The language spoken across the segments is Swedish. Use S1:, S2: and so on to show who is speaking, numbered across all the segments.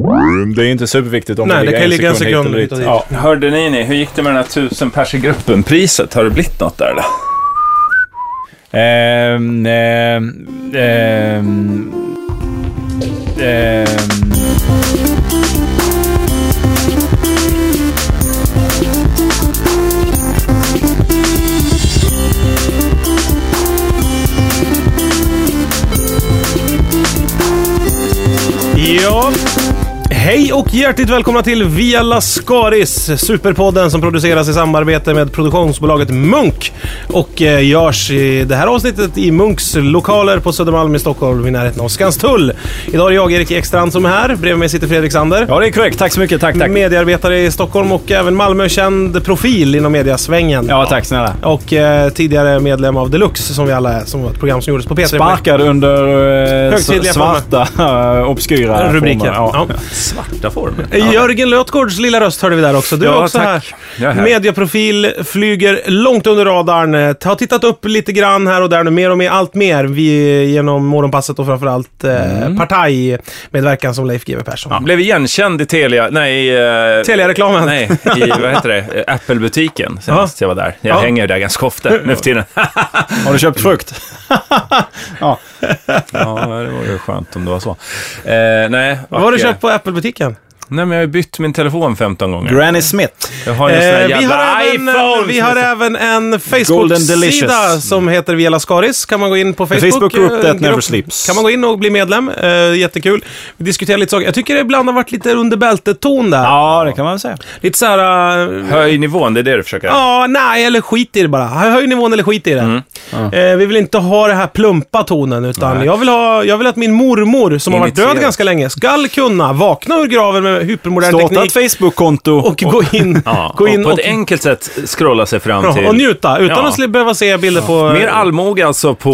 S1: Mm, Det är inte superviktigt om
S2: Nej, det kan
S1: en
S2: ligga en sekund
S1: hit eller
S2: hit och
S1: dit.
S2: dit.
S1: Ja.
S3: Hörde ni, ni, hur gick det med den här tusenpersgruppen? Priset, har det blivit något där eller?
S1: Ehm, ehm, ehm, ehm.
S2: Ja. Hej och hjärtligt välkomna till Via Lascaris, superpodden som produceras i samarbete med produktionsbolaget Munk och eh, görs i det här avsnittet i Munks lokaler på Södermalm i Stockholm i närheten av Skanstull. Idag är det jag, Erik Ekstrand, som är här. Bredvid mig sitter Fredrik Sander.
S1: ja, det är korrekt. Tack så mycket. Tack, tack.
S2: Mediearbetare i Stockholm och även Malmö-känd profil inom mediasvängen.
S1: Ja, tack snälla.
S2: Och eh, tidigare medlem av Deluxe, som vi alla är, som var ett program som gjordes på P3.
S1: Sparkad under eh,
S2: Högtidliga
S1: s- svarta, obskyra
S2: Rubriker.
S1: former. Ja.
S2: Ja.
S4: Svarta former.
S2: Jörgen Lötgårds lilla röst hörde vi där också. Du är
S3: Ja,
S2: också
S3: tack.
S2: här.
S3: Jag är här.
S2: Medieprofil, flyger långt under radarn. Eh, Har tittat upp lite grann här och där nu, mer och mer, allt mer. Vi, genom Morgonpasset och framförallt eh,
S3: Mm.
S2: partajmedverkan som Leif GW Persson.
S3: Blev igenkänd i Telia, nej... eh,
S2: Telia-reklamen.
S3: Nej, i, vad heter det, Eh, Apple-butiken senast jag var där. Jag
S2: Ja.
S3: hänger ju där ganska ofta nu för tiden.
S1: Har du köpt frukt?
S3: ja, det var ju skönt om det var så. Eh, nej,
S2: Vad har du
S3: och, eh,
S2: köpt på Apple-butiken?
S3: Nej, men jag har ju bytt min telefon 15 gånger.
S1: Granny Smith.
S3: Jag har ju en sån här
S2: Eh, vi,
S3: jävla
S2: har även,
S3: iPhone.
S2: vi har även en Facebook-sida
S1: Delicious.
S3: Mm.
S2: som heter Via Lascaris. Kan man gå in på Facebook.
S1: Facebook group that
S2: eh,
S1: never sleeps.
S2: Kan man gå in och bli medlem. Eh, jättekul. Vi diskuterar lite saker. Jag tycker det ibland har varit lite under bältet-ton där.
S1: Ja, det kan man väl säga.
S2: Lite så här... eh,
S3: Höj nivån, det är det du försöker.
S2: Ja, nej, eller skit i det bara. Höj nivån eller skit i det.
S3: Mm.
S2: Eh, vi vill inte ha den här plumpa tonen, utan jag vill, ha, jag vill att min mormor, som har varit död
S3: Initierat.
S2: ganska länge, skall kunna vakna ur graven med hypermodern
S1: Starta ett
S2: teknik
S1: Facebook-konto.
S2: och gå in,
S3: Ja,
S2: gå in
S3: och på
S2: och,
S3: ett enkelt sätt scrolla sig fram
S2: ja,
S3: till...
S2: och njuta, utan
S3: Ja.
S2: att sli- behöva se bilder på...
S3: Mer allmoge alltså på...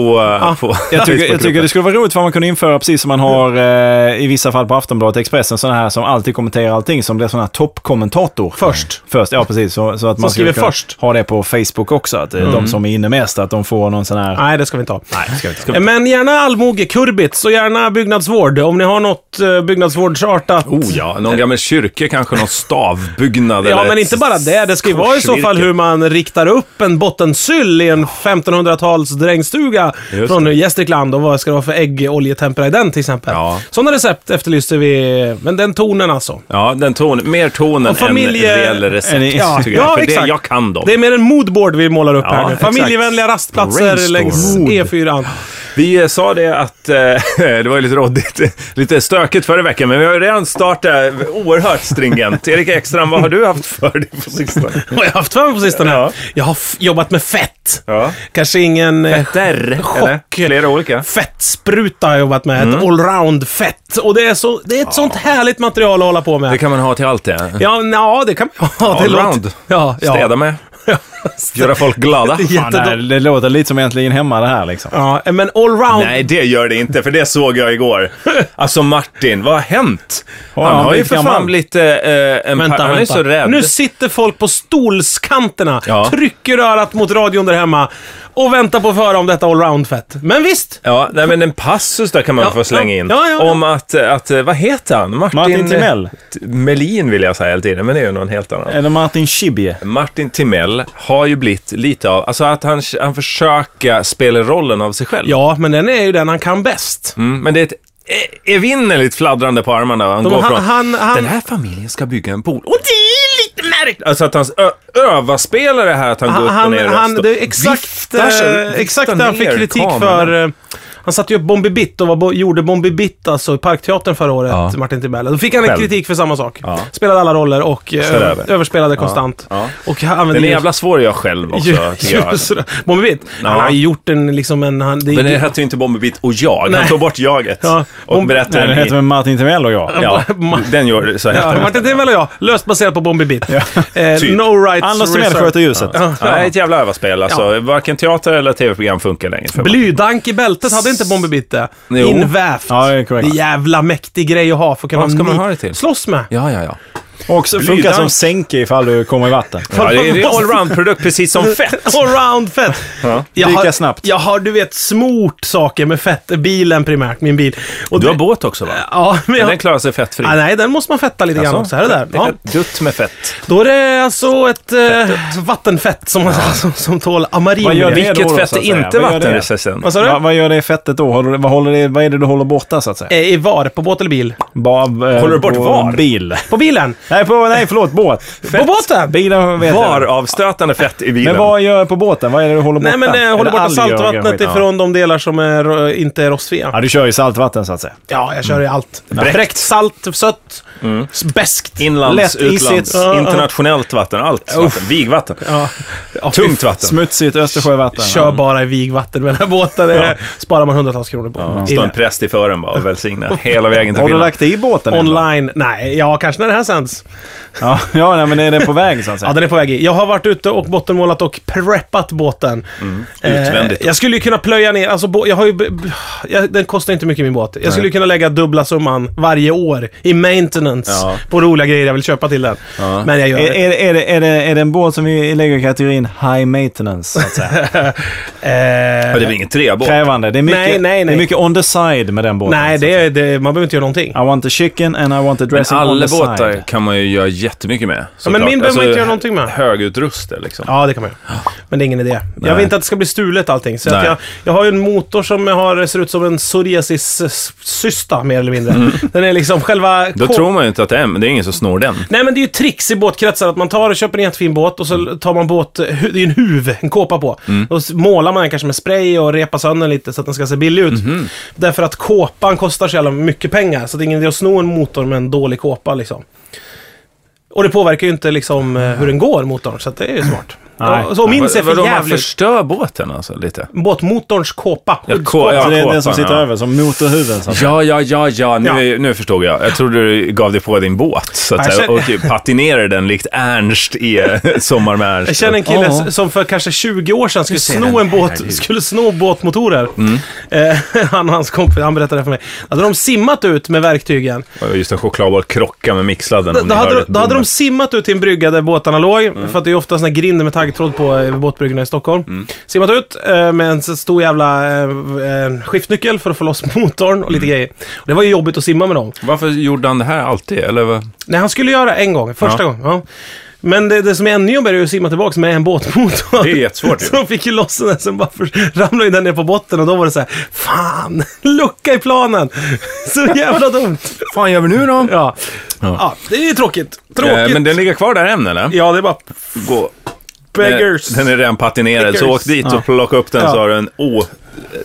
S3: på
S1: Jag tycker, jag tycker det skulle vara roligt för man kunde införa, precis som man har eh, i vissa fall på Aftonbladet Expressen, sådana här som alltid kommenterar allting, som blir sådana här toppkommentator.
S2: Först.
S1: Först, ja precis. Så, så att man
S2: skriver
S1: skulle kunna
S2: först.
S1: ha det på Facebook också, att eh, de som är inne mest, att de får någon sån här...
S2: Nej, det ska vi inte ha.
S1: Nej, ska vi inte.
S2: Eh, Men gärna allmoge, kurbits och gärna byggnadsvård. Om ni har något eh, byggnadsvårdsartat.
S3: Oh ja, någon gammal kyrka kanske, någon stavbyggnad
S2: Ja,
S3: eller
S2: men
S3: ett
S2: inte bara det. Det ska ju vara i så fall
S3: korsvirke.
S2: hur man riktar upp en bottensyll i en 1500-tals drängstuga
S3: Just
S2: från Gästrikland och vad ska det vara för äggoljetempera i den till exempel.
S3: Ja.
S2: Sådana recept efterlyser vi, men den tonen alltså.
S3: Ja, den ton, mer tonen
S2: Och familje-
S3: än reell
S1: Än
S3: recept.
S1: i-
S3: Ja, tycker
S2: ja,
S3: jag. För
S2: exakt.
S3: Det, jag kan dem.
S2: Det är mer en moodboard vi målar upp
S3: Ja,
S2: här nu.
S3: exakt.
S2: Familjevänliga rastplatser
S3: Brainstorm.
S2: längs E
S3: Mood.
S2: E4.
S3: Vi eh, sa det att, eh, det var ju lite råddigt, lite stökigt förra veckan, men vi har ju redan startat oerhört stringent. Erik Ekstrand, vad har du haft för dig på sistone?
S2: Vad har jag haft för mig på sistone?
S3: Ja.
S2: Jag har f- jobbat med fett.
S3: Ja.
S2: Kanske ingen... eh,
S3: Där, eller?
S2: Chock.
S3: Flera olika. Mm.
S2: Fettspruta har jag jobbat med. Ett allround-fett. Och det är, så, det är ett sånt härligt material att hålla på med.
S3: Det kan man ha till allt det.
S2: Ja, ja det kan man ja, det
S3: Allround.
S2: låter- Ja, ja.
S3: Städa med. Göra folk glada.
S1: Fan, det, här- det låter lite som Äntligen Hemma det här liksom.
S2: Ja, men allround.
S3: Nej, det gör det inte, för det såg jag igår. Alltså Martin, vad har hänt? Han
S1: han
S3: har ju
S1: blivit
S3: för fan
S1: gammal?
S3: blivit... Eh, eh, en
S2: Vänta,
S3: pa- han är
S2: vänta.
S3: så rädd.
S2: Nu sitter folk på stolskanterna,
S3: Ja.
S2: trycker örat mot radion där hemma och väntar på att få höra om detta allround-fett. Men visst!
S3: Ja, nej, men en passus där kan man
S2: Ja,
S3: få slänga
S2: ja,
S3: in.
S2: ja, ja.
S3: Om att, att, vad heter han? Martin,
S1: Martin Timell.
S3: T- Melin vill jag säga hela tiden, men det är ju någon helt annan.
S1: Eller Martin Schibbye.
S3: Martin Timell har ju blivit lite av, alltså att han, han försöker spela rollen av sig själv.
S2: Ja, men den är ju den han kan bäst.
S3: Mm, men det är ett e- evinnerligt fladdrande på armarna. Han
S2: De-
S3: går
S2: han-
S3: från,
S2: han- han-
S3: den här familjen ska bygga en pool. Och det är lite märkligt! Alltså att han ö- överspelar det här att han, går upp och
S2: Han,
S3: ner i
S2: han,
S3: rösten.
S2: det är exakt,
S3: Viftar sig,
S2: eh,
S3: viftar
S2: exakt där han
S3: ner
S2: fick kritik
S3: kameran.
S2: för. eh, Han satte ju upp Bombi Bitt och var, bo- gjorde Bombi Bitt alltså i Parkteatern förra året,
S3: Ja.
S2: Martin Timell. Då fick han en
S3: Själv.
S2: kritik för samma sak.
S3: Ja.
S2: Spelade alla roller och eh,
S3: Körde över.
S2: överspelade konstant.
S3: Ja.
S2: Och han använde
S3: Den är
S2: ljus-
S3: jävla Alltså, svår att göra själv också, tycker jag.
S2: Ljusrö- Bombi Bitt? Han har ju gjort en liksom en... Han, det,
S3: Men det hette ju inte Bomberbit och jag.
S2: Nej.
S3: Han tog bort jaget
S2: Ja,
S3: och
S2: Bomb-
S3: berättade
S1: Nej, den
S3: den
S1: heter
S3: i...
S1: väl Martin Timell och jag.
S3: Ja, den gör så
S2: Ja,
S3: heter
S2: Martin Timell och jag, löst baserat på Bombi Bitt. eh,
S3: Typ.
S2: No rights
S1: Anders Timell
S2: reserved.
S1: sköter ljuset.
S2: Ja.
S3: Ja, det är ett jävla överspel alltså. Varken teater eller tv-program funkar längre för mig.
S2: Blydank i bältet hade inte Bombi Bitt det.
S3: Jo.
S2: Invävt.
S1: Ja, det är
S2: det
S1: korrekt.
S2: är jävla mäktig grej att ha. För att kunna
S3: Vad ska man
S2: ny-
S3: ha det till?
S2: Slåss med.
S3: Ja, ja, ja.
S1: Och så funkar
S3: Blydank.
S1: som sänke ifall du kommer i vatten.
S3: Ja, det är det är allround-produkt precis som fett.
S2: Allround fett.
S3: Ja.
S2: Jag
S1: Lika
S2: har,
S1: snabbt.
S2: Jag har, du vet, smort saker med fett. Bilen primärt, min bil. Och
S3: Du har
S2: det-
S3: båt också va?
S2: Ja, men
S3: Men
S2: jag,
S3: den klarar sig fettfri. Alltså.
S2: ah, nej, den måste man fetta lite grann också. Här och där.
S3: Det är
S2: Ja.
S3: ett dutt med fett.
S2: Då är det alltså ett eh, vattenfett som, som, som tål amarin.
S1: Vad gör det
S3: Vilket
S1: då, då,
S3: fett
S1: så
S3: är
S1: att säga?
S3: inte
S1: Vad gör det?
S3: vattenresistent?
S2: Vad sa du?
S1: Va, vad gör det fettet då? Håller, du- vad, håller det, vad är det du håller borta så att säga?
S2: Eh, I var? På båt eller bil?
S1: Ba, eh,
S3: Håller du bort
S1: på
S3: var?
S1: Bil.
S2: På bilen?
S1: Nej, på, nej förlåt. Båt.
S2: På båten?
S1: Bilen vet jag.
S3: Varavstötande fett i bilen.
S1: Men vad gör jag på båten? Vad är det du håller borta?
S2: Nej, men
S1: Är det
S2: eh, håller borta
S1: alger och
S2: saltvattnet
S1: skit? Ja.
S2: ifrån de delar som är, ro- inte är rostfria.
S1: Ja, du kör ju saltvatten så att säga.
S2: Ja, jag kör ju allt.
S3: Mm. Bräckt. Mm.
S2: Bräckt, salt, sött, s- beskt.
S3: Inlands,
S1: Lätt,
S3: utlands,
S1: isigt.
S3: internationellt vatten, allt vatten. Vigvatten.
S2: Ja. Ja, fy
S3: Tungt vatten.
S1: Smutsigt Östersjövatten.
S2: Kör bara i vigvatten med den här båten. Det sparar man hundratals kronor på.
S3: Ja,
S2: Illa.
S3: Står en präst i fören bara och välsignar hela vägen till
S1: Har du
S3: Finland.
S1: lagt det i båten? än då?
S2: Online? Nej, ja, kanske när det här sänds.
S1: Ja, ja nej, men är den på väg så att
S2: Ja,
S1: säga?
S2: den är på väg i. Jag har varit ute och bottenmålat och preppat båten.
S3: Mm. utvändigt.
S2: Eh, jag skulle ju kunna plöja ner, alltså bå- jag har ju... b- b- Jag, den kostar inte mycket min båt. Jag skulle ju kunna lägga dubbla summan varje år i maintenance
S3: Ja.
S2: på roliga grejer jag vill köpa till den. Men jag gör
S1: Är,
S2: det.
S1: är, är, det, är, det, är det en båt som vi lägger i kategorin high maintenance? Så att säga?
S2: Eh,
S3: Ja, det är väl ingen trebåt?
S1: Krävande. Det är, mycket,
S2: Nej, nej, nej.
S1: det är mycket on the side med den båten.
S2: nej,
S1: så
S2: det
S1: att
S2: är, det, man behöver inte göra någonting.
S1: säga. I want the chicken and I want the
S3: Men
S1: dressing on
S3: alla
S1: the
S3: båtar
S1: side.
S3: kan man ju göra jättemycket med.
S2: Ja, men
S3: såklart.
S2: min behöver man inte göra någonting med.
S3: Högutruste liksom.
S2: Ja, det kan man göra. Men det är ingen idé. Jag vill inte att det ska bli stulet allting. Så att
S3: Nej.
S2: jag, jag har ju en motor som har, ser ut som en psoriasis-cysta mer eller mindre. Den är liksom själva...
S3: Mm. Då
S2: kå-
S3: tror man ju inte att det är, men det är ingen som snor den.
S2: Nej men det är ju tricks i båtkretsar att man tar och köper en jättefin båt och så
S3: Mm.
S2: tar man båt, hu- det är ju en huv, en kåpa på. Och s- målar man den kanske med spray och repar sönder den lite så att den ska se billig ut.
S3: Mhm.
S2: Därför att kåpan kostar så jävla mycket pengar så det är ingen idé att sno en motor med en dålig kåpa liksom. Och det påverkar ju inte liksom eh, hur den går, motorn, så att det är ju smart.
S1: Nej.
S2: Och, så min ser
S3: Vad- vadå,
S2: för
S3: man
S2: jävligt
S3: förstör båten alltså lite?
S2: Båtmotorns kåpa.
S3: Ja,
S2: skyddskåpa.
S3: kå- ja.
S1: Så Alltså, det är den som
S3: Kåpan,
S1: sitter
S3: ja.
S1: över, som motorhuven. Så att säga.
S3: Ja, ja, ja, ja. Nu,
S2: Ja.
S3: är- nu förstod jag. Jag trodde du gav dig på din båt så att
S2: Jag
S3: säga, och
S2: känner-
S3: typ patinerade den likt Ernst i eh, Sommar med Ernst.
S2: Jag känner en kille
S1: Ja.
S2: s- som för kanske 20 år sedan skulle
S3: ser
S2: sno,
S3: den Mm.
S2: en båt,
S3: här ut?
S2: skulle sno båtmotorer. Eh, han och hans kompis, han berättade det för mig. Då hade de simmat ut med verktygen.
S3: Ja, Just en chokladboll krocka med mixladden.
S2: Då,
S3: om
S2: då,
S3: ni hörde
S2: hade,
S3: Mm.
S2: de-
S3: ett
S2: då hade
S3: boom.
S2: de simmat ut till en brygga där båtarna låg. För att det är ofta såna grinder med taggtråd på eh, båtbryggorna i Stockholm.
S3: Mm.
S2: Simmat ut eh, med en så stor jävla eh, eh, skiftnyckel för att få loss motorn och lite
S3: Mm.
S2: grejer. Och det var ju jobbigt att simma med dem.
S3: Varför gjorde han det här alltid? Eller vad?
S2: Nej, han skulle göra en gång. Första
S3: Ja.
S2: gången. Ja. Men det, det som är ännu jobbigare är ju att simma tillbaka med en båtmotor.
S3: Det är jättesvårt ju.
S2: Så de fick ju loss den, sen bara för, ramlade ju den ner på botten och då var det så här, Fan! Lucka i planen! Så jävla dumt!
S3: fan gör vi nu då?
S2: Ja. ja. det är ju tråkigt. Tråkigt.
S3: Eh, men den ligger kvar där än eller?
S2: Ja, det är bara
S3: Gå.
S2: beggars.
S3: Den, den är redan patinerad, så
S2: Beggars.
S3: åk dit
S1: Ja.
S3: och plocka upp den
S1: Ja.
S3: så har du en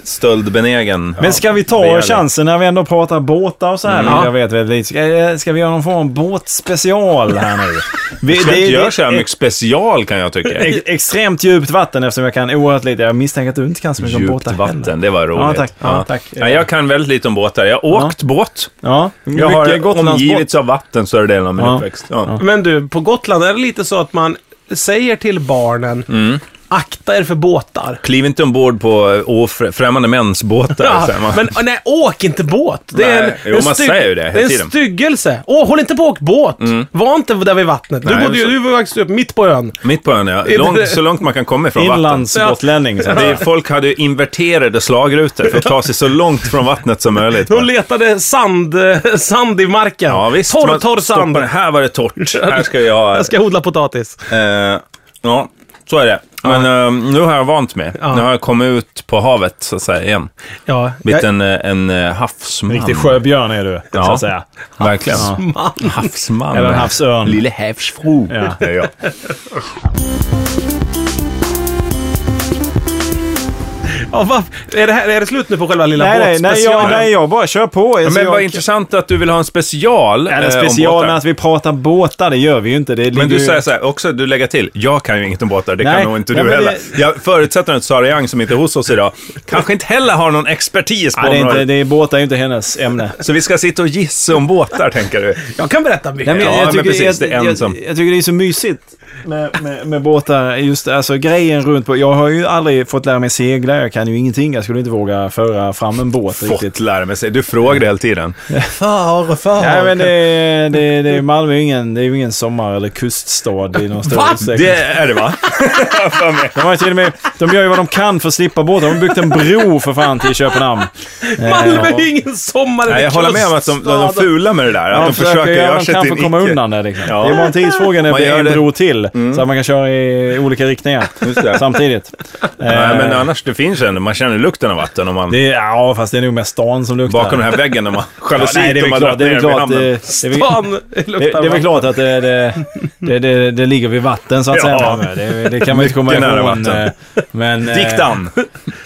S3: ostöldbenägen.
S1: Men ska vi ta
S3: Begärlig.
S1: chansen när vi ändå pratar båtar och så här?
S3: Mm.
S1: vilket
S2: Ja.
S1: Jag vet väldigt lite. Ska, eh, ska vi göra någon form av båtspecial här nu? Vi,
S3: Det inte göra så här mycket special kan jag tycka.
S1: ex, extremt djupt vatten eftersom jag kan oerhört lite. Jag misstänker att du inte kan så mycket om
S3: Djupt
S1: båtar heller.
S3: vatten, det var roligt.
S1: Ja, tack. Ja, tack.
S3: Ja, jag kan väldigt lite om båtar. Jag har
S1: Ja.
S3: åkt båt.
S1: Ja,
S3: Jag har
S1: mycket Gotlandsbåt.
S3: omgivits av vatten större delen av min
S1: Ja.
S3: uppväxt. Ja.
S2: Men du, på Gotland är det lite så att man säger till barnen
S3: Mm.
S2: Akta er för båtar.
S3: Kliv inte ombord på eh, åfrä- främmande mäns båtar.
S2: Ja,
S3: säger man.
S2: men nej, åk inte båt. Det är
S3: Nej,
S2: en,
S3: jo,
S2: en
S3: man
S2: styg-
S3: säger ju det hela
S2: är en
S3: tiden. Mm.
S2: styggelse. Åh, håll inte på att åka båt. Var inte där vid vattnet. Du
S3: Nej,
S2: bodde ju
S3: så-
S2: du var faktiskt upp mitt på ön.
S3: Mitt på ön, ja.
S2: det-
S3: Långt, så långt man kan komma ifrån vatten.
S1: Inlandsgotlänning. så att
S3: Det,
S1: säga.
S3: är- folk hade ju inverterade slagrutor för att ta sig så långt från vattnet som möjligt.
S2: De letade sand, eh, sand i marken.
S3: Ja, visst,
S2: torr,
S3: man
S2: torr sand.
S3: stoppar- Här var det torrt. Här ska jag...
S2: Jag ska odla potatis.
S3: Eh, ja, så är det. Men eh, nu har jag vant mig.
S2: Ja.
S3: Nu har jag kommit ut på havet, så att säga, igen.
S2: Ja,
S3: Blivit
S2: jag-
S3: en, eh, en eh, havsman.
S1: Riktig sjöbjörn är du, så
S3: Ja.
S1: att säga.
S3: Verkligen.
S2: man.
S3: Havsman.
S1: Eller en havsörn.
S3: Lille havsfru.
S1: Ja.
S3: Det är jag.
S2: Ja, va? är, det här, är det slut nu på själva lilla
S1: Nej, nej, nej,
S2: båtspecialen?
S1: jag, nej, jag bara kör på.
S3: Ja, Men
S1: Alltså, jag,
S3: vad intressant att du vill ha en special.
S1: Ja, det är
S3: eh, om
S1: special
S3: båtar.
S1: med att vi pratar båtar, det gör vi ju inte. Det ligger
S3: Men du
S1: ju-
S3: säger så här, också du lägger till, jag kan ju inget om båtar, det kan
S1: Nej.
S3: nog inte
S1: Ja,
S3: du
S1: men
S3: heller.
S1: det-
S3: Jag förutsätter att Sara Young, som inte är hos oss idag, kanske inte heller har någon expertis på
S1: Nej, det är
S3: området.
S1: inte, det är, båtar är ju inte hennes ämne.
S3: Så vi ska sitta och gissa om båtar, tänker du?
S2: Jag kan berätta mycket.
S1: Nej, men
S3: Ja,
S1: jag
S3: men
S1: tycker,
S3: precis,
S1: jag,
S3: det är en
S1: jag,
S3: som-
S1: jag tycker det är så mysigt. med, med, med båtar. Just alltså grejen runt på. Jag har ju aldrig fått lära mig segla. Jag kan ju ingenting. Jag skulle inte våga föra fram en båt
S3: Fått
S1: riktigt.
S3: lära mig sig. Du frågar det hela tiden.
S2: Far, far.
S1: Nej men det, det, det, Malmö är ju ingen, det är ju ingen sommar eller kuststad i någon större utsträckning.
S3: Det är det va?
S1: De, har ju till och med, de gör ju vad de kan för att slippa båtar. De har byggt en bro för fan till Köpenhamn.
S2: Malmö
S1: Eh,
S2: är ju ingen sommar
S3: Nej, jag håller med om att de, de, de fular med det där. Att de försöker
S1: göra
S3: göra
S1: vad de
S3: sig
S1: kan
S3: till
S1: för
S3: en
S1: att komma
S3: icke-
S1: undan det. Liksom.
S3: Ja.
S1: Det är bara en tidsfråga när det
S3: Man
S1: blir
S3: gör
S1: en
S3: det. Mm.
S1: bro till. Så att man kan köra i olika riktningar
S3: Just det.
S1: samtidigt.
S3: Nej,
S1: Eh,
S3: men annars, det finns en. Man känner lukten av vatten om man...
S1: det är, ja, fast det är nog mest stan som luktar.
S3: Bakom den här väggen när man...
S1: ja,
S3: Jalusi
S1: nej, det är
S3: de
S1: väl
S3: har dragit
S1: klart. Det är väl
S3: ner vid
S1: klart, eh, det,
S3: hamnen.
S1: det, är väl-
S2: Fan,
S1: det, det är väl klart att det, det, det, det, det ligger vid vatten så att
S3: Ja.
S1: säga. Malmö. Det, det kan man ju inte komma
S3: Mycket nära
S1: ifrån.
S3: vatten.
S1: eh, Men, eh,
S3: Diktan!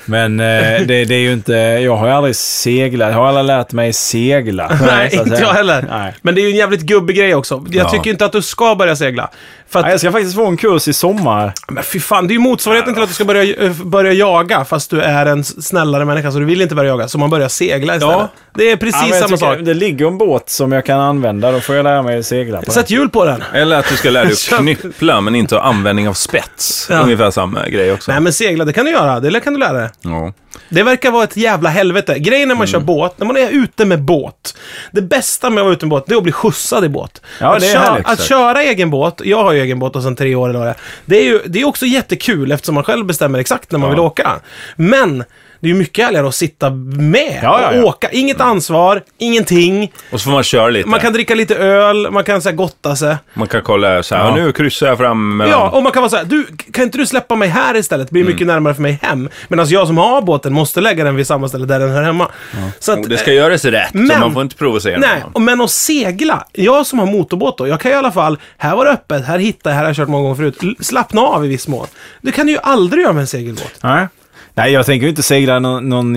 S1: Men eh, det, det är ju inte... Jag har ju aldrig seglat. Jag har aldrig lärt mig segla.
S2: Nej,
S1: så att
S2: inte
S1: säga.
S2: jag heller.
S1: Nej.
S2: Men det är ju en jävligt gubbig grej också. Jag
S3: Ja.
S2: tycker inte att du ska börja segla. För att,
S1: Nej, jag ska faktiskt få en kurs i sommar.
S2: men fy fan, det är ju motsvarigheten till att du ska börja, eh, börja jaga fast du är en s- snällare människa så du vill inte börja jaga. Så man börjar segla istället. Det är
S1: Ja, men
S2: precis
S1: jag
S2: samma
S1: tycker
S2: sak.
S1: Det ligger en båt som jag kan använda. Då får jag lära mig att segla på
S2: Sätt hjul på den.
S3: Eller att du ska lära dig
S2: Kör.
S3: att knyppla, men inte ha användning av spets.
S2: Ja.
S3: Ungefär samma grej också.
S2: Nej men segla, det kan du göra. Det kan du lära dig.
S3: Ja.
S2: Det verkar vara ett jävla helvete. Grejen när man
S1: Mm.
S2: kör båt, när man är ute med båt. Det bästa med att vara ute med båt, det är att bli skjutsad i båt.
S1: Ja,
S2: att,
S1: det är
S2: köra,
S1: härligt,
S2: att
S3: säkert.
S2: köra egen båt, jag har ju egen båt och sedan tre år eller vad det är. Det är ju det är också jättekul eftersom man själv bestämmer exakt när man vill åka. Men det är ju mycket härligare att sitta med
S1: Ja, ja, ja.
S2: och åka. Inget ansvar, ingenting.
S3: Och så får man köra lite.
S2: Man kan dricka lite öl, man kan så här, gotta sig.
S3: kolla så här,
S1: Ja.
S3: nu kryssar jag fram mellan...
S2: Ja, och man kan vara såhär, du, kan inte du släppa mig här istället? Det
S1: Mm.
S2: blir mycket närmare för mig hem. Medan jag som har båten måste lägga den vid samma ställe där den hör hemma. Så att,
S3: Och det ska göras rätt,
S2: Men-
S3: så man får inte provocera
S2: Nej,
S3: någon.
S2: och men att segla. Jag som har motorbåt då, jag kan i alla fall, här var det öppet, här hittade jag, här har jag kört många gånger förut. L- Slappna av i viss mån. Det kan du ju aldrig göra med en segelbåt.
S1: Nej. Nej, jag tänker ju inte segla någon, någon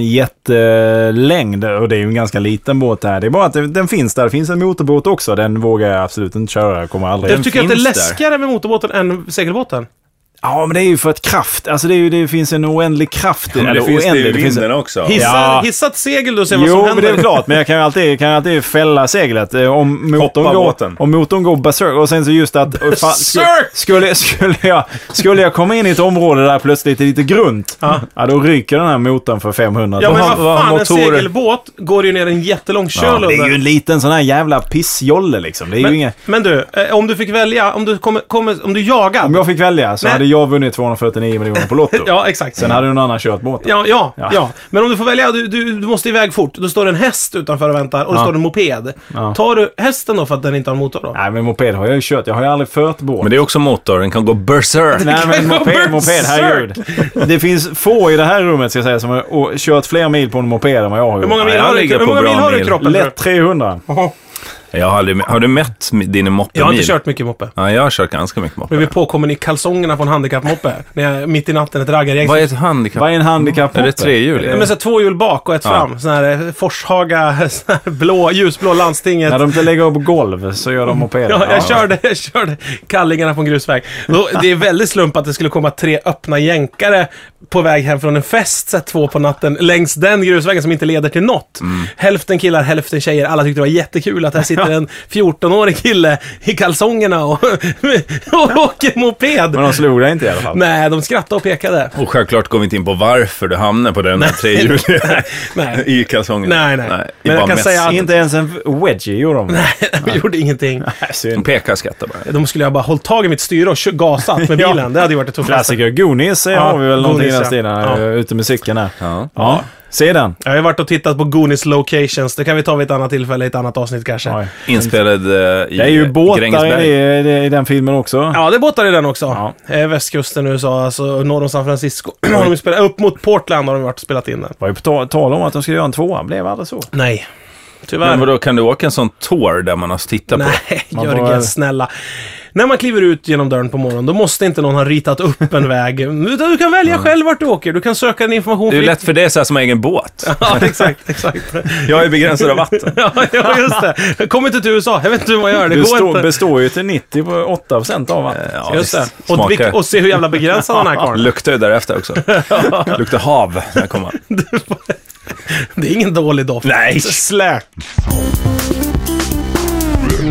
S1: jättelängd eh, och det är ju en ganska liten båt det här. Det är bara att det- den finns där. Det finns en motorbåt också. Den vågar jag absolut inte köra. Jag kommer aldrig...
S2: Jag tycker att det är
S3: finns där.
S2: läskigare med motorbåten än segelbåten.
S1: Ja, men det är ju för att kraft... Alltså det, är ju, det finns en oändlig kraft.
S3: Men det
S1: eller
S3: finns det ju
S1: oändlig,
S3: i vinden också.
S2: Hissa,
S1: Ja.
S2: hissa ett segel du och se vad som
S1: Jo, men
S2: händer.
S1: det är väl klart. Men jag kan ju alltid, kan ju alltid fälla seglet eh, om motorn,
S3: Hoppa
S1: går,
S3: båten.
S1: om motorn går berserk. Och sen så just att... och fa- sku-
S2: Berserk!
S1: Skulle, skulle, jag, skulle jag komma in i ett område där plötsligt det är lite grunt, ja. då ryker den här motorn för 500.
S2: Ja,
S1: Då
S2: men
S1: har-
S2: vad
S3: vad har
S2: fan, en
S3: motorer?
S2: segelbåt går ju ner en jättelång köl
S1: Ja, det
S2: under.
S1: är ju en liten sån här jävla pissjolle liksom. Det är
S2: men,
S1: ju inga...
S2: men du, eh, om du fick välja, om du, kommer, kommer, om du
S1: Om
S2: jagar.
S1: jag fick välja så
S2: Nej.
S1: hade jag vunnit 249 miljoner på Lotto.
S2: Ja, exakt.
S1: Sen hade någon annan kört båten.
S3: Typ.
S2: Ja, ja, ja,
S1: Ja.
S2: Men om du får välja, du, du, du måste iväg fort. Då står det en häst utanför och väntar och det
S1: Ja.
S2: står en moped.
S1: Ja.
S2: Tar du hästen då för att den inte har en motor då?
S1: Nej, men moped har jag ju kört. Jag har ju aldrig fört båt.
S3: Men det är också motor, den kan gå berserk.
S1: Nej, men
S2: gå
S1: moped, moped,
S2: berserk.
S1: herregud. Det finns få i det här rummet, ska jag säga, som har å- kört fler mil på en moped än vad jag har gjort.
S2: Hur många mil
S3: jag
S2: har du,
S3: ligger
S2: hur
S3: på
S2: många
S3: bra
S2: mil har du i
S3: mil.
S2: kroppen?
S1: Lätt 300.
S2: Jaha.
S3: Jag har, aldrig, har du mätt din moppemil?
S2: Jag har inte kört mycket moppe.
S3: Ja, jag har kört ganska mycket moppe.
S2: Blev vi påkommen i kalsongerna på en handikappmoppe. när jag mitt i natten ett raggargäng.
S3: Vad är ett handikapp?
S1: Vad är en handikappmoppe?
S3: Är det trehjulig?
S2: Nej, Men så här, två hjul bak och ett
S3: Ja.
S2: fram. Sån här eh, Forshaga, sån här blå, ljusblå landstinget.
S1: När de inte lägger upp golv så gör de mopeder.
S2: Ja, jag körde, jag körde kallingarna på en grusväg. Då, det är väldigt slump att det skulle komma tre öppna jänkare på väg hem från en fest så här, två på natten längs den grusvägen som inte leder till något. Hälften killar, hälften tjejer. Alla tyckte det var jättekul att här sitter en 14-årig kille i kalsongerna och, och åker moped.
S1: Men de slog dig inte i alla fall.
S2: Nej, de skrattade och pekade.
S3: Och självklart går vi inte in på varför du hamnar på den här trehjuliga
S2: Nej.
S3: i kalsongen.
S2: Nej, nej.
S3: det
S2: Men
S3: är
S2: jag
S3: bara
S2: kan
S3: mäss.
S2: säga att-
S1: Inte ens en wedgie gjorde de. Nej,
S2: De gjorde ingenting.
S1: synd.
S3: Peka och skratta bara.
S2: De skulle jag bara hållit tag i mitt styre och kö- gasat med bilen. Det hade ju varit det tuffaste.
S1: Klassiker. Goonies eh,
S2: Ja,
S1: har vi väl någonting i
S2: Goonies,
S1: den
S2: ja.
S1: stilen.
S2: Ja.
S1: Ja. Ute med cykeln här.
S3: Ja.
S1: Ja, se den.
S2: Jag har ju varit och tittat på Goonies Locations. Det kan vi ta vid ett annat tillfälle i ett annat avsnitt kanske.
S1: Oj.
S3: Inspelad eh, i
S1: Det är ju båtar i,
S3: Grängesberg.
S1: det- det- i den filmen också.
S2: Ja, det är båtar i den också.
S1: Ja.
S2: Eh, västkusten i USA, alltså norr om San Francisco. har de ju spelat, upp mot Portland har de varit och spelat in den.
S1: var ju på ta- tal om att de skulle göra en tvåa. Blev aldrig så.
S2: Nej. Tyvärr.
S3: Men vadå, kan du åka en sån tour där man har tittat på?
S2: Nej,
S1: Man får
S2: Jörgen,
S1: väl-
S2: snälla. När man kliver ut genom dörren på morgonen, då måste inte någon ha ritat upp en väg. Utan du kan välja själv vart du åker. Du kan söka din information
S3: Det är ju
S2: fritt.
S3: lätt för dig så här som har egen båt.
S2: Ja, exakt, exakt.
S3: Jag är begränsad av vatten.
S2: ja, ja, just det. Jag kommer inte till USA. Jag vet inte hur man gör. Det går
S1: består,
S2: inte.
S1: består ju till 98% av vatten.
S3: Ja,
S2: Just det.
S3: visst.
S2: Och,
S3: Smakar.
S2: vilk- och se hur jävla begränsad den här karln
S3: Luktar ju därefter också. Luktar hav när jag kommer.
S2: Det är ingen dålig doft.
S3: Nej.
S2: Slä.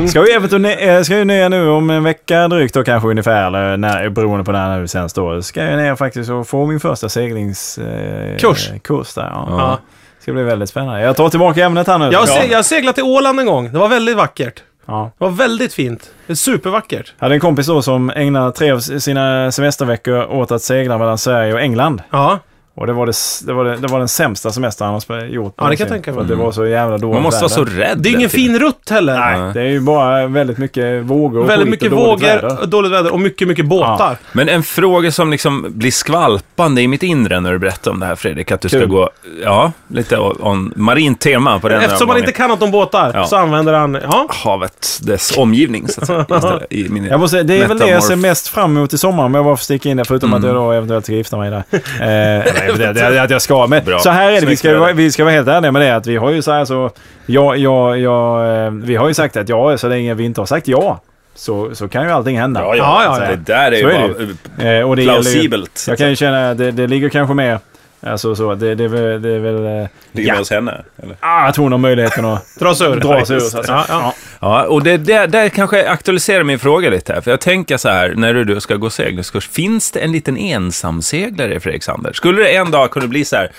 S1: Ska ju även turne- eh, ska ju ner nu om en vecka drygt då kanske ungefär, eller när, beroende på när nu sen står. Ska jag ner faktiskt och få min första seglingskurs. Eh,
S2: Kurs.
S1: kurs där, ja.
S2: Ja.
S1: Ska bli väldigt spännande. Jag tar tillbaka ämnet här nu.
S2: Jag, har se- jag seglade till Åland en gång. Det var väldigt vackert.
S1: Ja.
S2: Det var väldigt fint. Det är Supervackert.
S1: Jag hade en kompis då som ägnade tre av sina semesterveckor åt att segla mellan Sverige och England.
S2: Ja.
S1: Och det var, det, s- det var, det, det var den sämsta semestern han har spe- gjort.
S2: Ja, det kan jag
S1: någonsin.
S2: tänka mig.
S1: För att Det var så jävla dåligt
S3: Man måste vara
S1: väder.
S3: så rädd.
S2: Det är ingen fin rutt heller.
S1: Nej, det är ju bara väldigt mycket vågor och
S2: Väldigt
S1: skit
S2: mycket
S1: och dåligt
S2: vågor,
S1: väder.
S2: dåligt väder och mycket, mycket båtar.
S3: Men en fråga som liksom blir skvalpande i mitt inre när du berättar om det här Fredrik, att du ska
S1: Kul.
S3: gå, ja, lite on marint tema på den här
S2: Eftersom man inte
S3: omgången.
S2: kan något om båtar
S3: Ja.
S2: så använder han... Ja.
S3: havet, dess omgivning så att säga, istället, i min
S1: Jag måste, säga, det är väl det jag
S3: metamorf.
S1: ser
S3: Mm.
S1: mest fram emot i sommar om jag bara får sticka in det förutom att jag då eventuellt ska gifta mig där. Eh, nej, det, det, det, att jag ska. Men
S3: Bra.
S1: så här är det, vi
S3: Snyggt,
S1: ska, ju
S3: Fredrik.
S1: vara- vi ska vara helt ärliga med det att vi har ju så här så... Ja, ja, ja, eh, vi har ju sagt att ja, så länge vi inte har sagt ja så, så kan ju allting hända.
S3: Ja, ja,
S2: Ja, ja,
S3: alltså,
S2: ja.
S3: Det där är
S1: Så
S3: ju
S1: är det
S3: bara,
S1: Eh, och det gäller ju,
S3: plausibelt.
S1: Jag kan ju känna, det, det ligger kanske mer... Alltså så, det, det, är väl- det är väl... eh,
S3: Ligger med hos henne. Eller?
S1: Ah, att hon har möjligheten att
S2: Dra sig ur.
S1: dra sig ur. så att säga.
S2: Ja, ja.
S3: Ja, och det där, där kanske aktualiserar min fråga lite här. För jag tänker så här, när du då ska gå seglingskurs, finns det en liten ensamseglare i Fredrik Sander? Skulle det en dag kunna bli så här,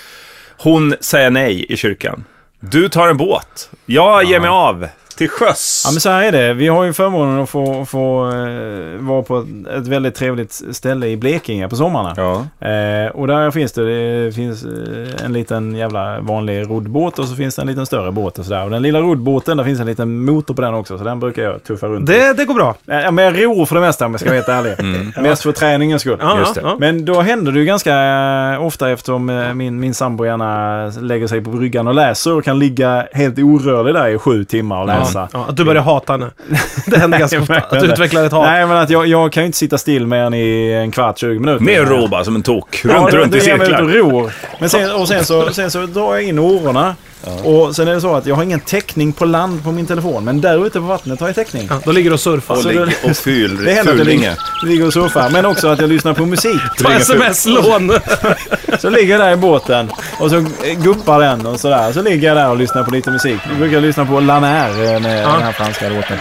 S3: hon säger nej i kyrkan. Du tar en båt. Jag ger mig av till sjöss.
S1: Ja men så här är det. Vi har ju förmånen att få, få eh, vara på ett väldigt trevligt ställe i Blekinge på sommarna.
S3: Ja.
S1: Eh, och där finns det, det finns eh, en liten jävla vanlig roddbåt och så finns det en liten större båt och sådär. Och den lilla roddbåten, där finns en liten motor på den också så den brukar jag tuffa runt i. Eh,
S2: Det, det går bra.
S1: Ja, men jag ror för det mesta om jag ska vara helt ärlig. Mest för träningens skull.
S2: Ja,
S3: Just
S2: ja,
S3: det.
S2: ja.
S1: Men då händer det ju ganska ofta eftersom eh, min, min sambo gärna lägger sig på bryggan och läser och kan ligga helt orörlig där i sju timmar och läsa.
S2: Ja, att du börjar hata henne. Det händer ganska ofta. Att du
S1: det.
S2: utvecklar ett hat.
S1: Nej, men att jag, jag kan ju inte sitta still mer än i en kvart, 20 minuter.
S3: Ner och ro bara som en tok. Runt,
S1: Ja, då-
S3: runt
S1: då
S3: i
S1: ger jag mig ut
S3: cirklar.
S1: och ror. Men sen, och sen, så, sen så drar jag in ororna. Och sen är det så att jag har ingen täckning på land på min telefon. Men där ute på vattnet har jag täckning.
S2: Ja, då ligger du och surfar.
S3: Och,
S1: Så
S3: ligger
S1: det-
S3: och ful,
S1: Det händer att jag
S3: fulinge.
S1: ligger, ligger och surfar. Men också att jag lyssnar på musik.
S2: Ta sms-lån.
S1: Så ligger jag där i båten och så eh, guppar den och sådär. Så ligger jag där och lyssnar på lite musik. Nu brukar jag lyssna på Lanaire med den här franska låten.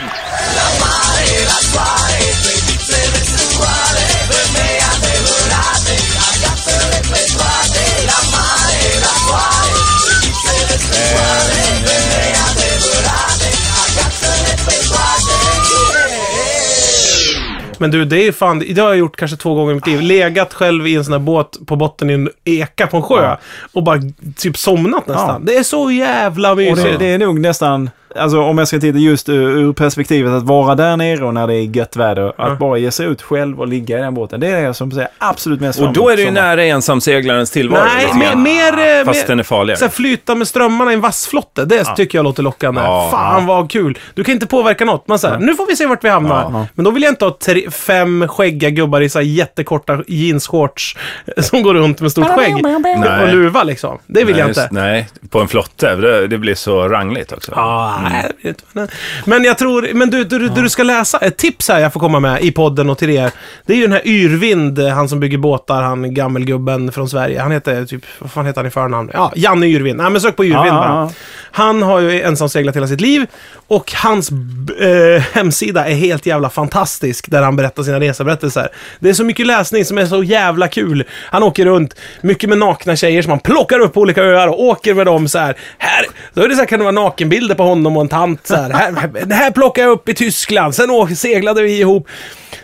S2: Men du, det är fan, det har jag gjort kanske två gånger i mitt liv. Legat själv i en sån här båt på botten i en eka på en sjö och bara typ somnat nästan.
S1: Ja.
S2: Det är så jävla
S1: Och det,
S2: mysigt.
S1: det är nog nästan, alltså om jag ska titta just ur, ur perspektivet att vara där nere och när det är gött väder. Att
S2: Ja.
S1: bara ge sig ut själv och ligga i den båten. Det är det som säger absolut mest fram
S3: Och då
S1: emot
S3: är det ju
S1: sommaren.
S3: nära ensamseglarens tillvaro.
S2: Nej,
S3: lite
S2: mer...
S3: grann.
S2: mer eh,
S3: liksom. Fast
S2: mer,
S3: den är farligare.
S2: så här, flyta med strömmarna i en vassflotte. Det tycker jag låter lockande.
S3: Ja.
S2: Fan vad kul. Du kan inte påverka något. Man säger, nu får vi se vart vi hamnar.
S1: Ja.
S2: Men då vill jag inte ha tre, fem skäggiga gubbar i så här jättekorta jeansshorts eh, som går runt med stort skägg.
S3: Nej.
S2: Och luva liksom. Det vill
S3: nej,
S2: jag inte.
S3: just- Nej, på en flotte. Det, det blir så rangligt också.
S2: Ja,
S1: Mm.
S2: nej, jag vet inte. Men jag tror, men du, du, du, du ska läsa, ett tips här jag får komma med i podden och till er. Det är ju den här Yrvind, eh, han som bygger båtar, han gammelgubben från Sverige. Han heter typ, vad fan heter han i förnamn? Ja, Janne Yrvind. Nej men sök på Yrvind
S1: Ja, ja,
S2: bara.
S1: ja.
S2: Han har ju ensamseglat hela sitt liv och hans b- eh, hemsida är helt jävla fantastisk där han berättar sina reseberättelser. Det är så mycket läsning som är så jävla kul. Han åker runt mycket med nakna tjejer som han plockar upp på olika öar och åker med dem så här. här då är det så här, kan det vara nakenbilder på honom och en tant så här. här det här plockade jag upp i Tyskland, sen å- seglade vi ihop.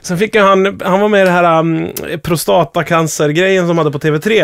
S2: Sen fick han, han var med i det här um, prostatacancergrejen som hade på TV3,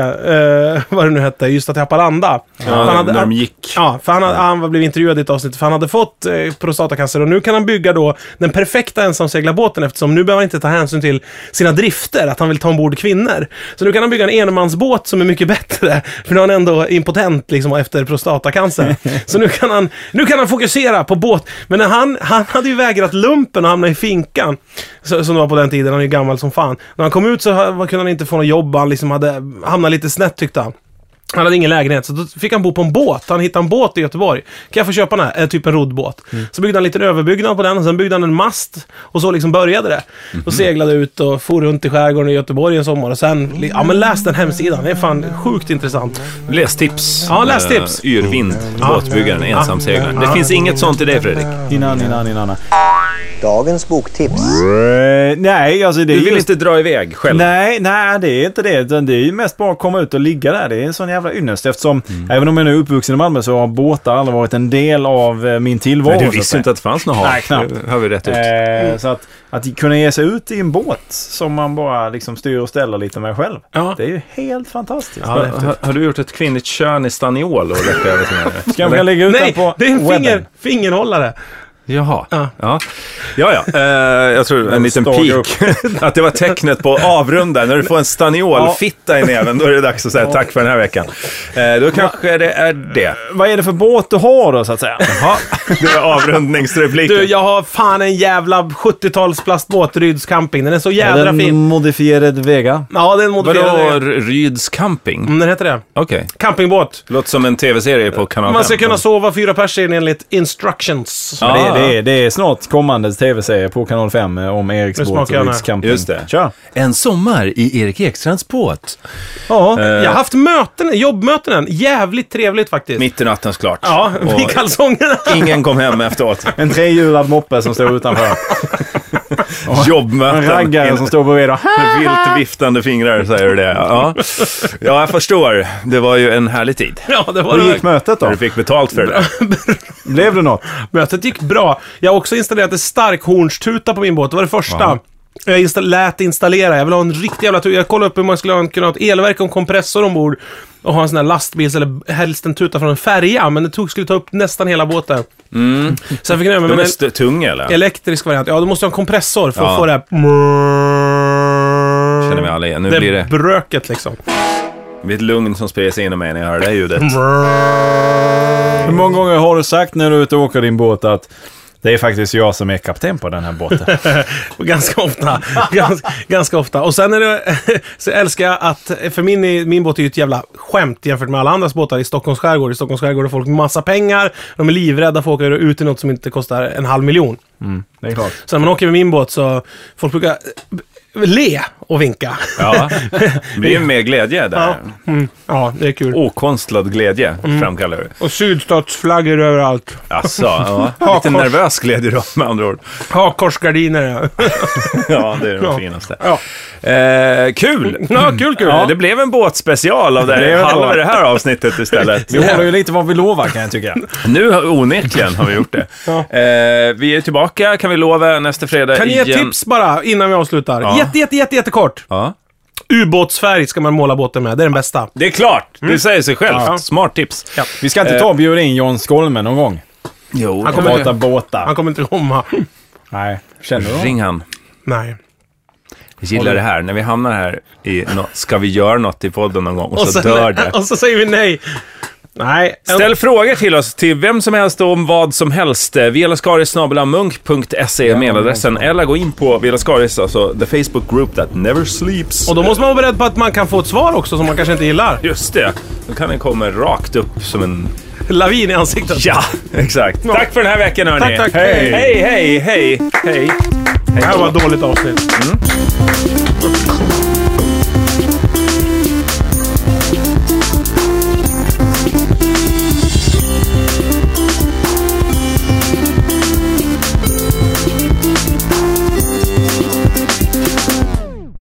S2: eh, vad det nu hette, just att i Haparanda.
S3: Ja,
S2: han hade,
S3: när de gick.
S2: Ja, för han, hade, han var- blev intervjuad i ett avsnitt för han hade fått eh, prostatacancer och nu kan han bygga då den perfekta ensamseglarbåten eftersom nu behöver han inte ta hänsyn till sina drifter, att han vill ta ombord kvinnor. Så nu kan han bygga en enmansbåt som är mycket bättre, för nu är han ändå impotent liksom efter prostatacancer. Så nu kan han, nu kan han fokusera på båt. Men när han, han hade ju vägrat lumpen och hamna i finkan, så, som det var på den tiden, han är ju gammal som fan. När han kom ut så ha- kunde han inte få något jobb, han liksom hade hamnat lite snett tyckte han. Han hade ingen lägenhet, så då fick han bo på en båt. Han hittade en båt i Göteborg. Kan jag få köpa den här? Eh, typ en roddbåt. Så byggde han en liten överbyggnad på den, och sen byggde han en mast. Och så liksom började det. Och seglade ut och for runt i skärgården i Göteborg en sommar. Och sen, li- ja men läs den hemsidan. Det är fan sjukt intressant.
S3: Läs tips.
S2: Ja, läs tips.
S3: Eh, Yrvind, båtbyggaren, ensamseglaren. Det finns inget sånt i dig Fredrik.
S1: Innan, innan, innan.
S4: Dagens boktips.
S1: Eh, nej, alltså det är
S3: Du vill
S1: just-
S3: inte dra iväg själv.
S1: Nej, nej, det är inte det. Utan det är ju mest bara att komma ut och ligga där. Det är en sån jävla ynnest eftersom,
S3: Mm.
S1: även om jag nu är uppvuxen i Malmö, så har båtar aldrig varit en del av eh, min tillvaro.
S3: Men du
S1: så att
S3: visste
S1: säga.
S3: ju inte att det fanns något hav.
S1: Nej, knappt.
S3: Det har vi rätt ut.
S1: Eh, så att, att kunna ge sig ut i en båt som man bara liksom styr och ställer lite med själv.
S2: Ja.
S1: Det är ju helt fantastiskt.
S3: har, har, har du gjort ett kvinnligt kön i staniol och läckt över till mig?
S1: Kanske jag lägger ut den
S2: Nej,
S1: på
S2: det är en
S1: webben.
S2: finger, fingerhållare.
S3: Jaha.
S2: Ja.
S3: Ja, ja. ja. Eh, jag tror en liten
S1: stalker
S3: pik. att det var tecknet på avrunda. När du får en staniolfitta i näven, då är det dags att säga tack för den här veckan. Eh, då kanske det är det.
S1: Vad är det för båt du har då så att säga?
S3: Ja, det var avrundningsrepliken.
S2: Du, jag har fan en jävla 70-tals plastbåt, Ryds camping. Den är så jädra
S1: Eller en
S2: fin.
S1: modifierad Vega.
S2: Ja, den
S3: Vadå
S2: modifierade.
S3: Ryds camping?
S2: Mm, den heter det.
S3: Okej.
S2: Campingbåt.
S3: Låter som en tv-serie på kanal
S2: Man ska
S3: 5.
S2: kunna sova fyra personer enligt instructions.
S3: Ja.
S1: Det, det, är- det är snart kommande tv-serie på Kanal 5 eh, om Eriks
S2: Nu
S1: båt
S2: smakar jag
S1: och
S2: den
S1: Riks
S2: här.
S1: camping.
S3: Just det.
S1: Kör.
S3: En sommar i Erik Ekstrands båt.
S1: Ja.
S2: Jag har haft möten, jobbmöten än. Jävligt trevligt faktiskt.
S3: Eh. Mitt i natten såklart.
S2: Ja, i
S3: Och
S2: kalsongerna.
S3: ingen kom hem efteråt.
S1: En trehjulad moppe som står utanför. En
S3: Jobbmöten.
S1: raggare som står bredvid och
S3: Vilt viftande fingrar, säger du det? Ja. ja, jag förstår. Det var ju en härlig tid.
S2: Ja, det var
S1: Hur
S2: det.
S1: gick mötet
S3: När
S1: då?
S3: du fick betalt för det där.
S1: Blev det något?
S2: Mötet gick bra. Jag har också installerat en starkhornstuta på min båt. Det var det första. Jag insta- lät installera. Jag vill ha en riktig jävla tuta. Jag kollade upp hur man skulle ha en- kunna ha ett elverk och en kompressor ombord. Och ha en sån här lastbils eller helst en tuta från en färja. Men det tog, skulle ta upp nästan hela båten. Sen fick jag nöja mig
S3: Mm. De är
S2: med
S3: st- tunga eller?
S2: en elektrisk variant. Ja, då måste jag ha en kompressor för
S3: Ja.
S2: att få det här...
S3: känner vi alla igen. Nu
S2: Det
S3: blir det
S2: bröket liksom.
S3: mitt lugn som sprider sig inom mig när jag hör det här ljudet.
S1: Hur många gånger har du sagt när du är ute och åker din båt att det är faktiskt jag som är kapten på den här båten?
S2: Och Ganska ofta. ganska, ganska ofta. Och sen är det, så älskar jag att, för min, min båt är ju ett jävla skämt jämfört med alla andras båtar i Stockholms skärgård. I Stockholms skärgård har folk massa pengar, de är livrädda för att åka ut i något som inte kostar en halv miljon.
S1: Det är klart.
S2: Så när man åker med min båt så, folk brukar eh, le och vinka.
S3: Ja, det blir mer glädje
S2: Ja,
S3: där.
S2: mm. ja det är kul.
S3: Okonstlad glädje framkallar du.
S2: Och sydstatsflaggor överallt.
S3: Alltså, ja. lite
S2: kors.
S3: nervös glädje då med andra ord.
S2: Hakkorsgardiner. ja.
S3: Ja, det är det
S2: Ja.
S3: finaste.
S2: Ja.
S3: Eh, kul!
S2: Ja, kul, kul.
S3: Det blev en båtspecial av det
S1: Det är
S3: här,
S1: det.
S3: halva det här avsnittet istället.
S1: Vi håller ju lite vad vi lovar kan jag tycka.
S3: Nu har onekligen har vi gjort det. eh, vi är tillbaka, kan vi lova, nästa fredag
S2: Kan ni ge
S3: igen.
S2: tips bara innan vi avslutar?
S3: Ja.
S2: Jätte, jätte, jätte, jättekort.
S3: Ja.
S2: Ubåtsfärg ska man måla båten med. Det är den bästa.
S3: Det är klart, det säger sig självt.
S2: Mm. Ja.
S3: Smart tips.
S2: Ja.
S1: Vi ska inte ta och bjuda in John Skolmen någon gång.
S3: Jo,
S2: Han
S1: Och
S2: kommer
S1: prata
S2: inte, han
S1: båtar.
S2: kommer inte komma.
S1: Nej, känner du honom?
S3: ring han.
S2: Nej.
S3: Jag gillar det här, när vi hamnar här i nå- ska vi göra något i podden någon gång och, så
S2: sen-
S3: dör det.
S2: Och så säger vi nej. Nej.
S3: Ställ frågor till oss, till vem som helst och om vad som helst. Eh, Vielaskaris.munk.se är mailadressen, eller gå in på Vielaskaris, alltså the Facebook group that never sleeps.
S2: Och då måste man vara beredd på att man kan få ett svar också som man kanske inte gillar.
S3: Just det, då kan den komma rakt upp som en
S2: Lavin i ansiktet.
S3: Ja, exakt. Tack för den här veckan hörni.
S2: Tack, tack.
S3: Hej, hej, hej, hej. hej.
S2: Det här var ett dåligt avsnitt.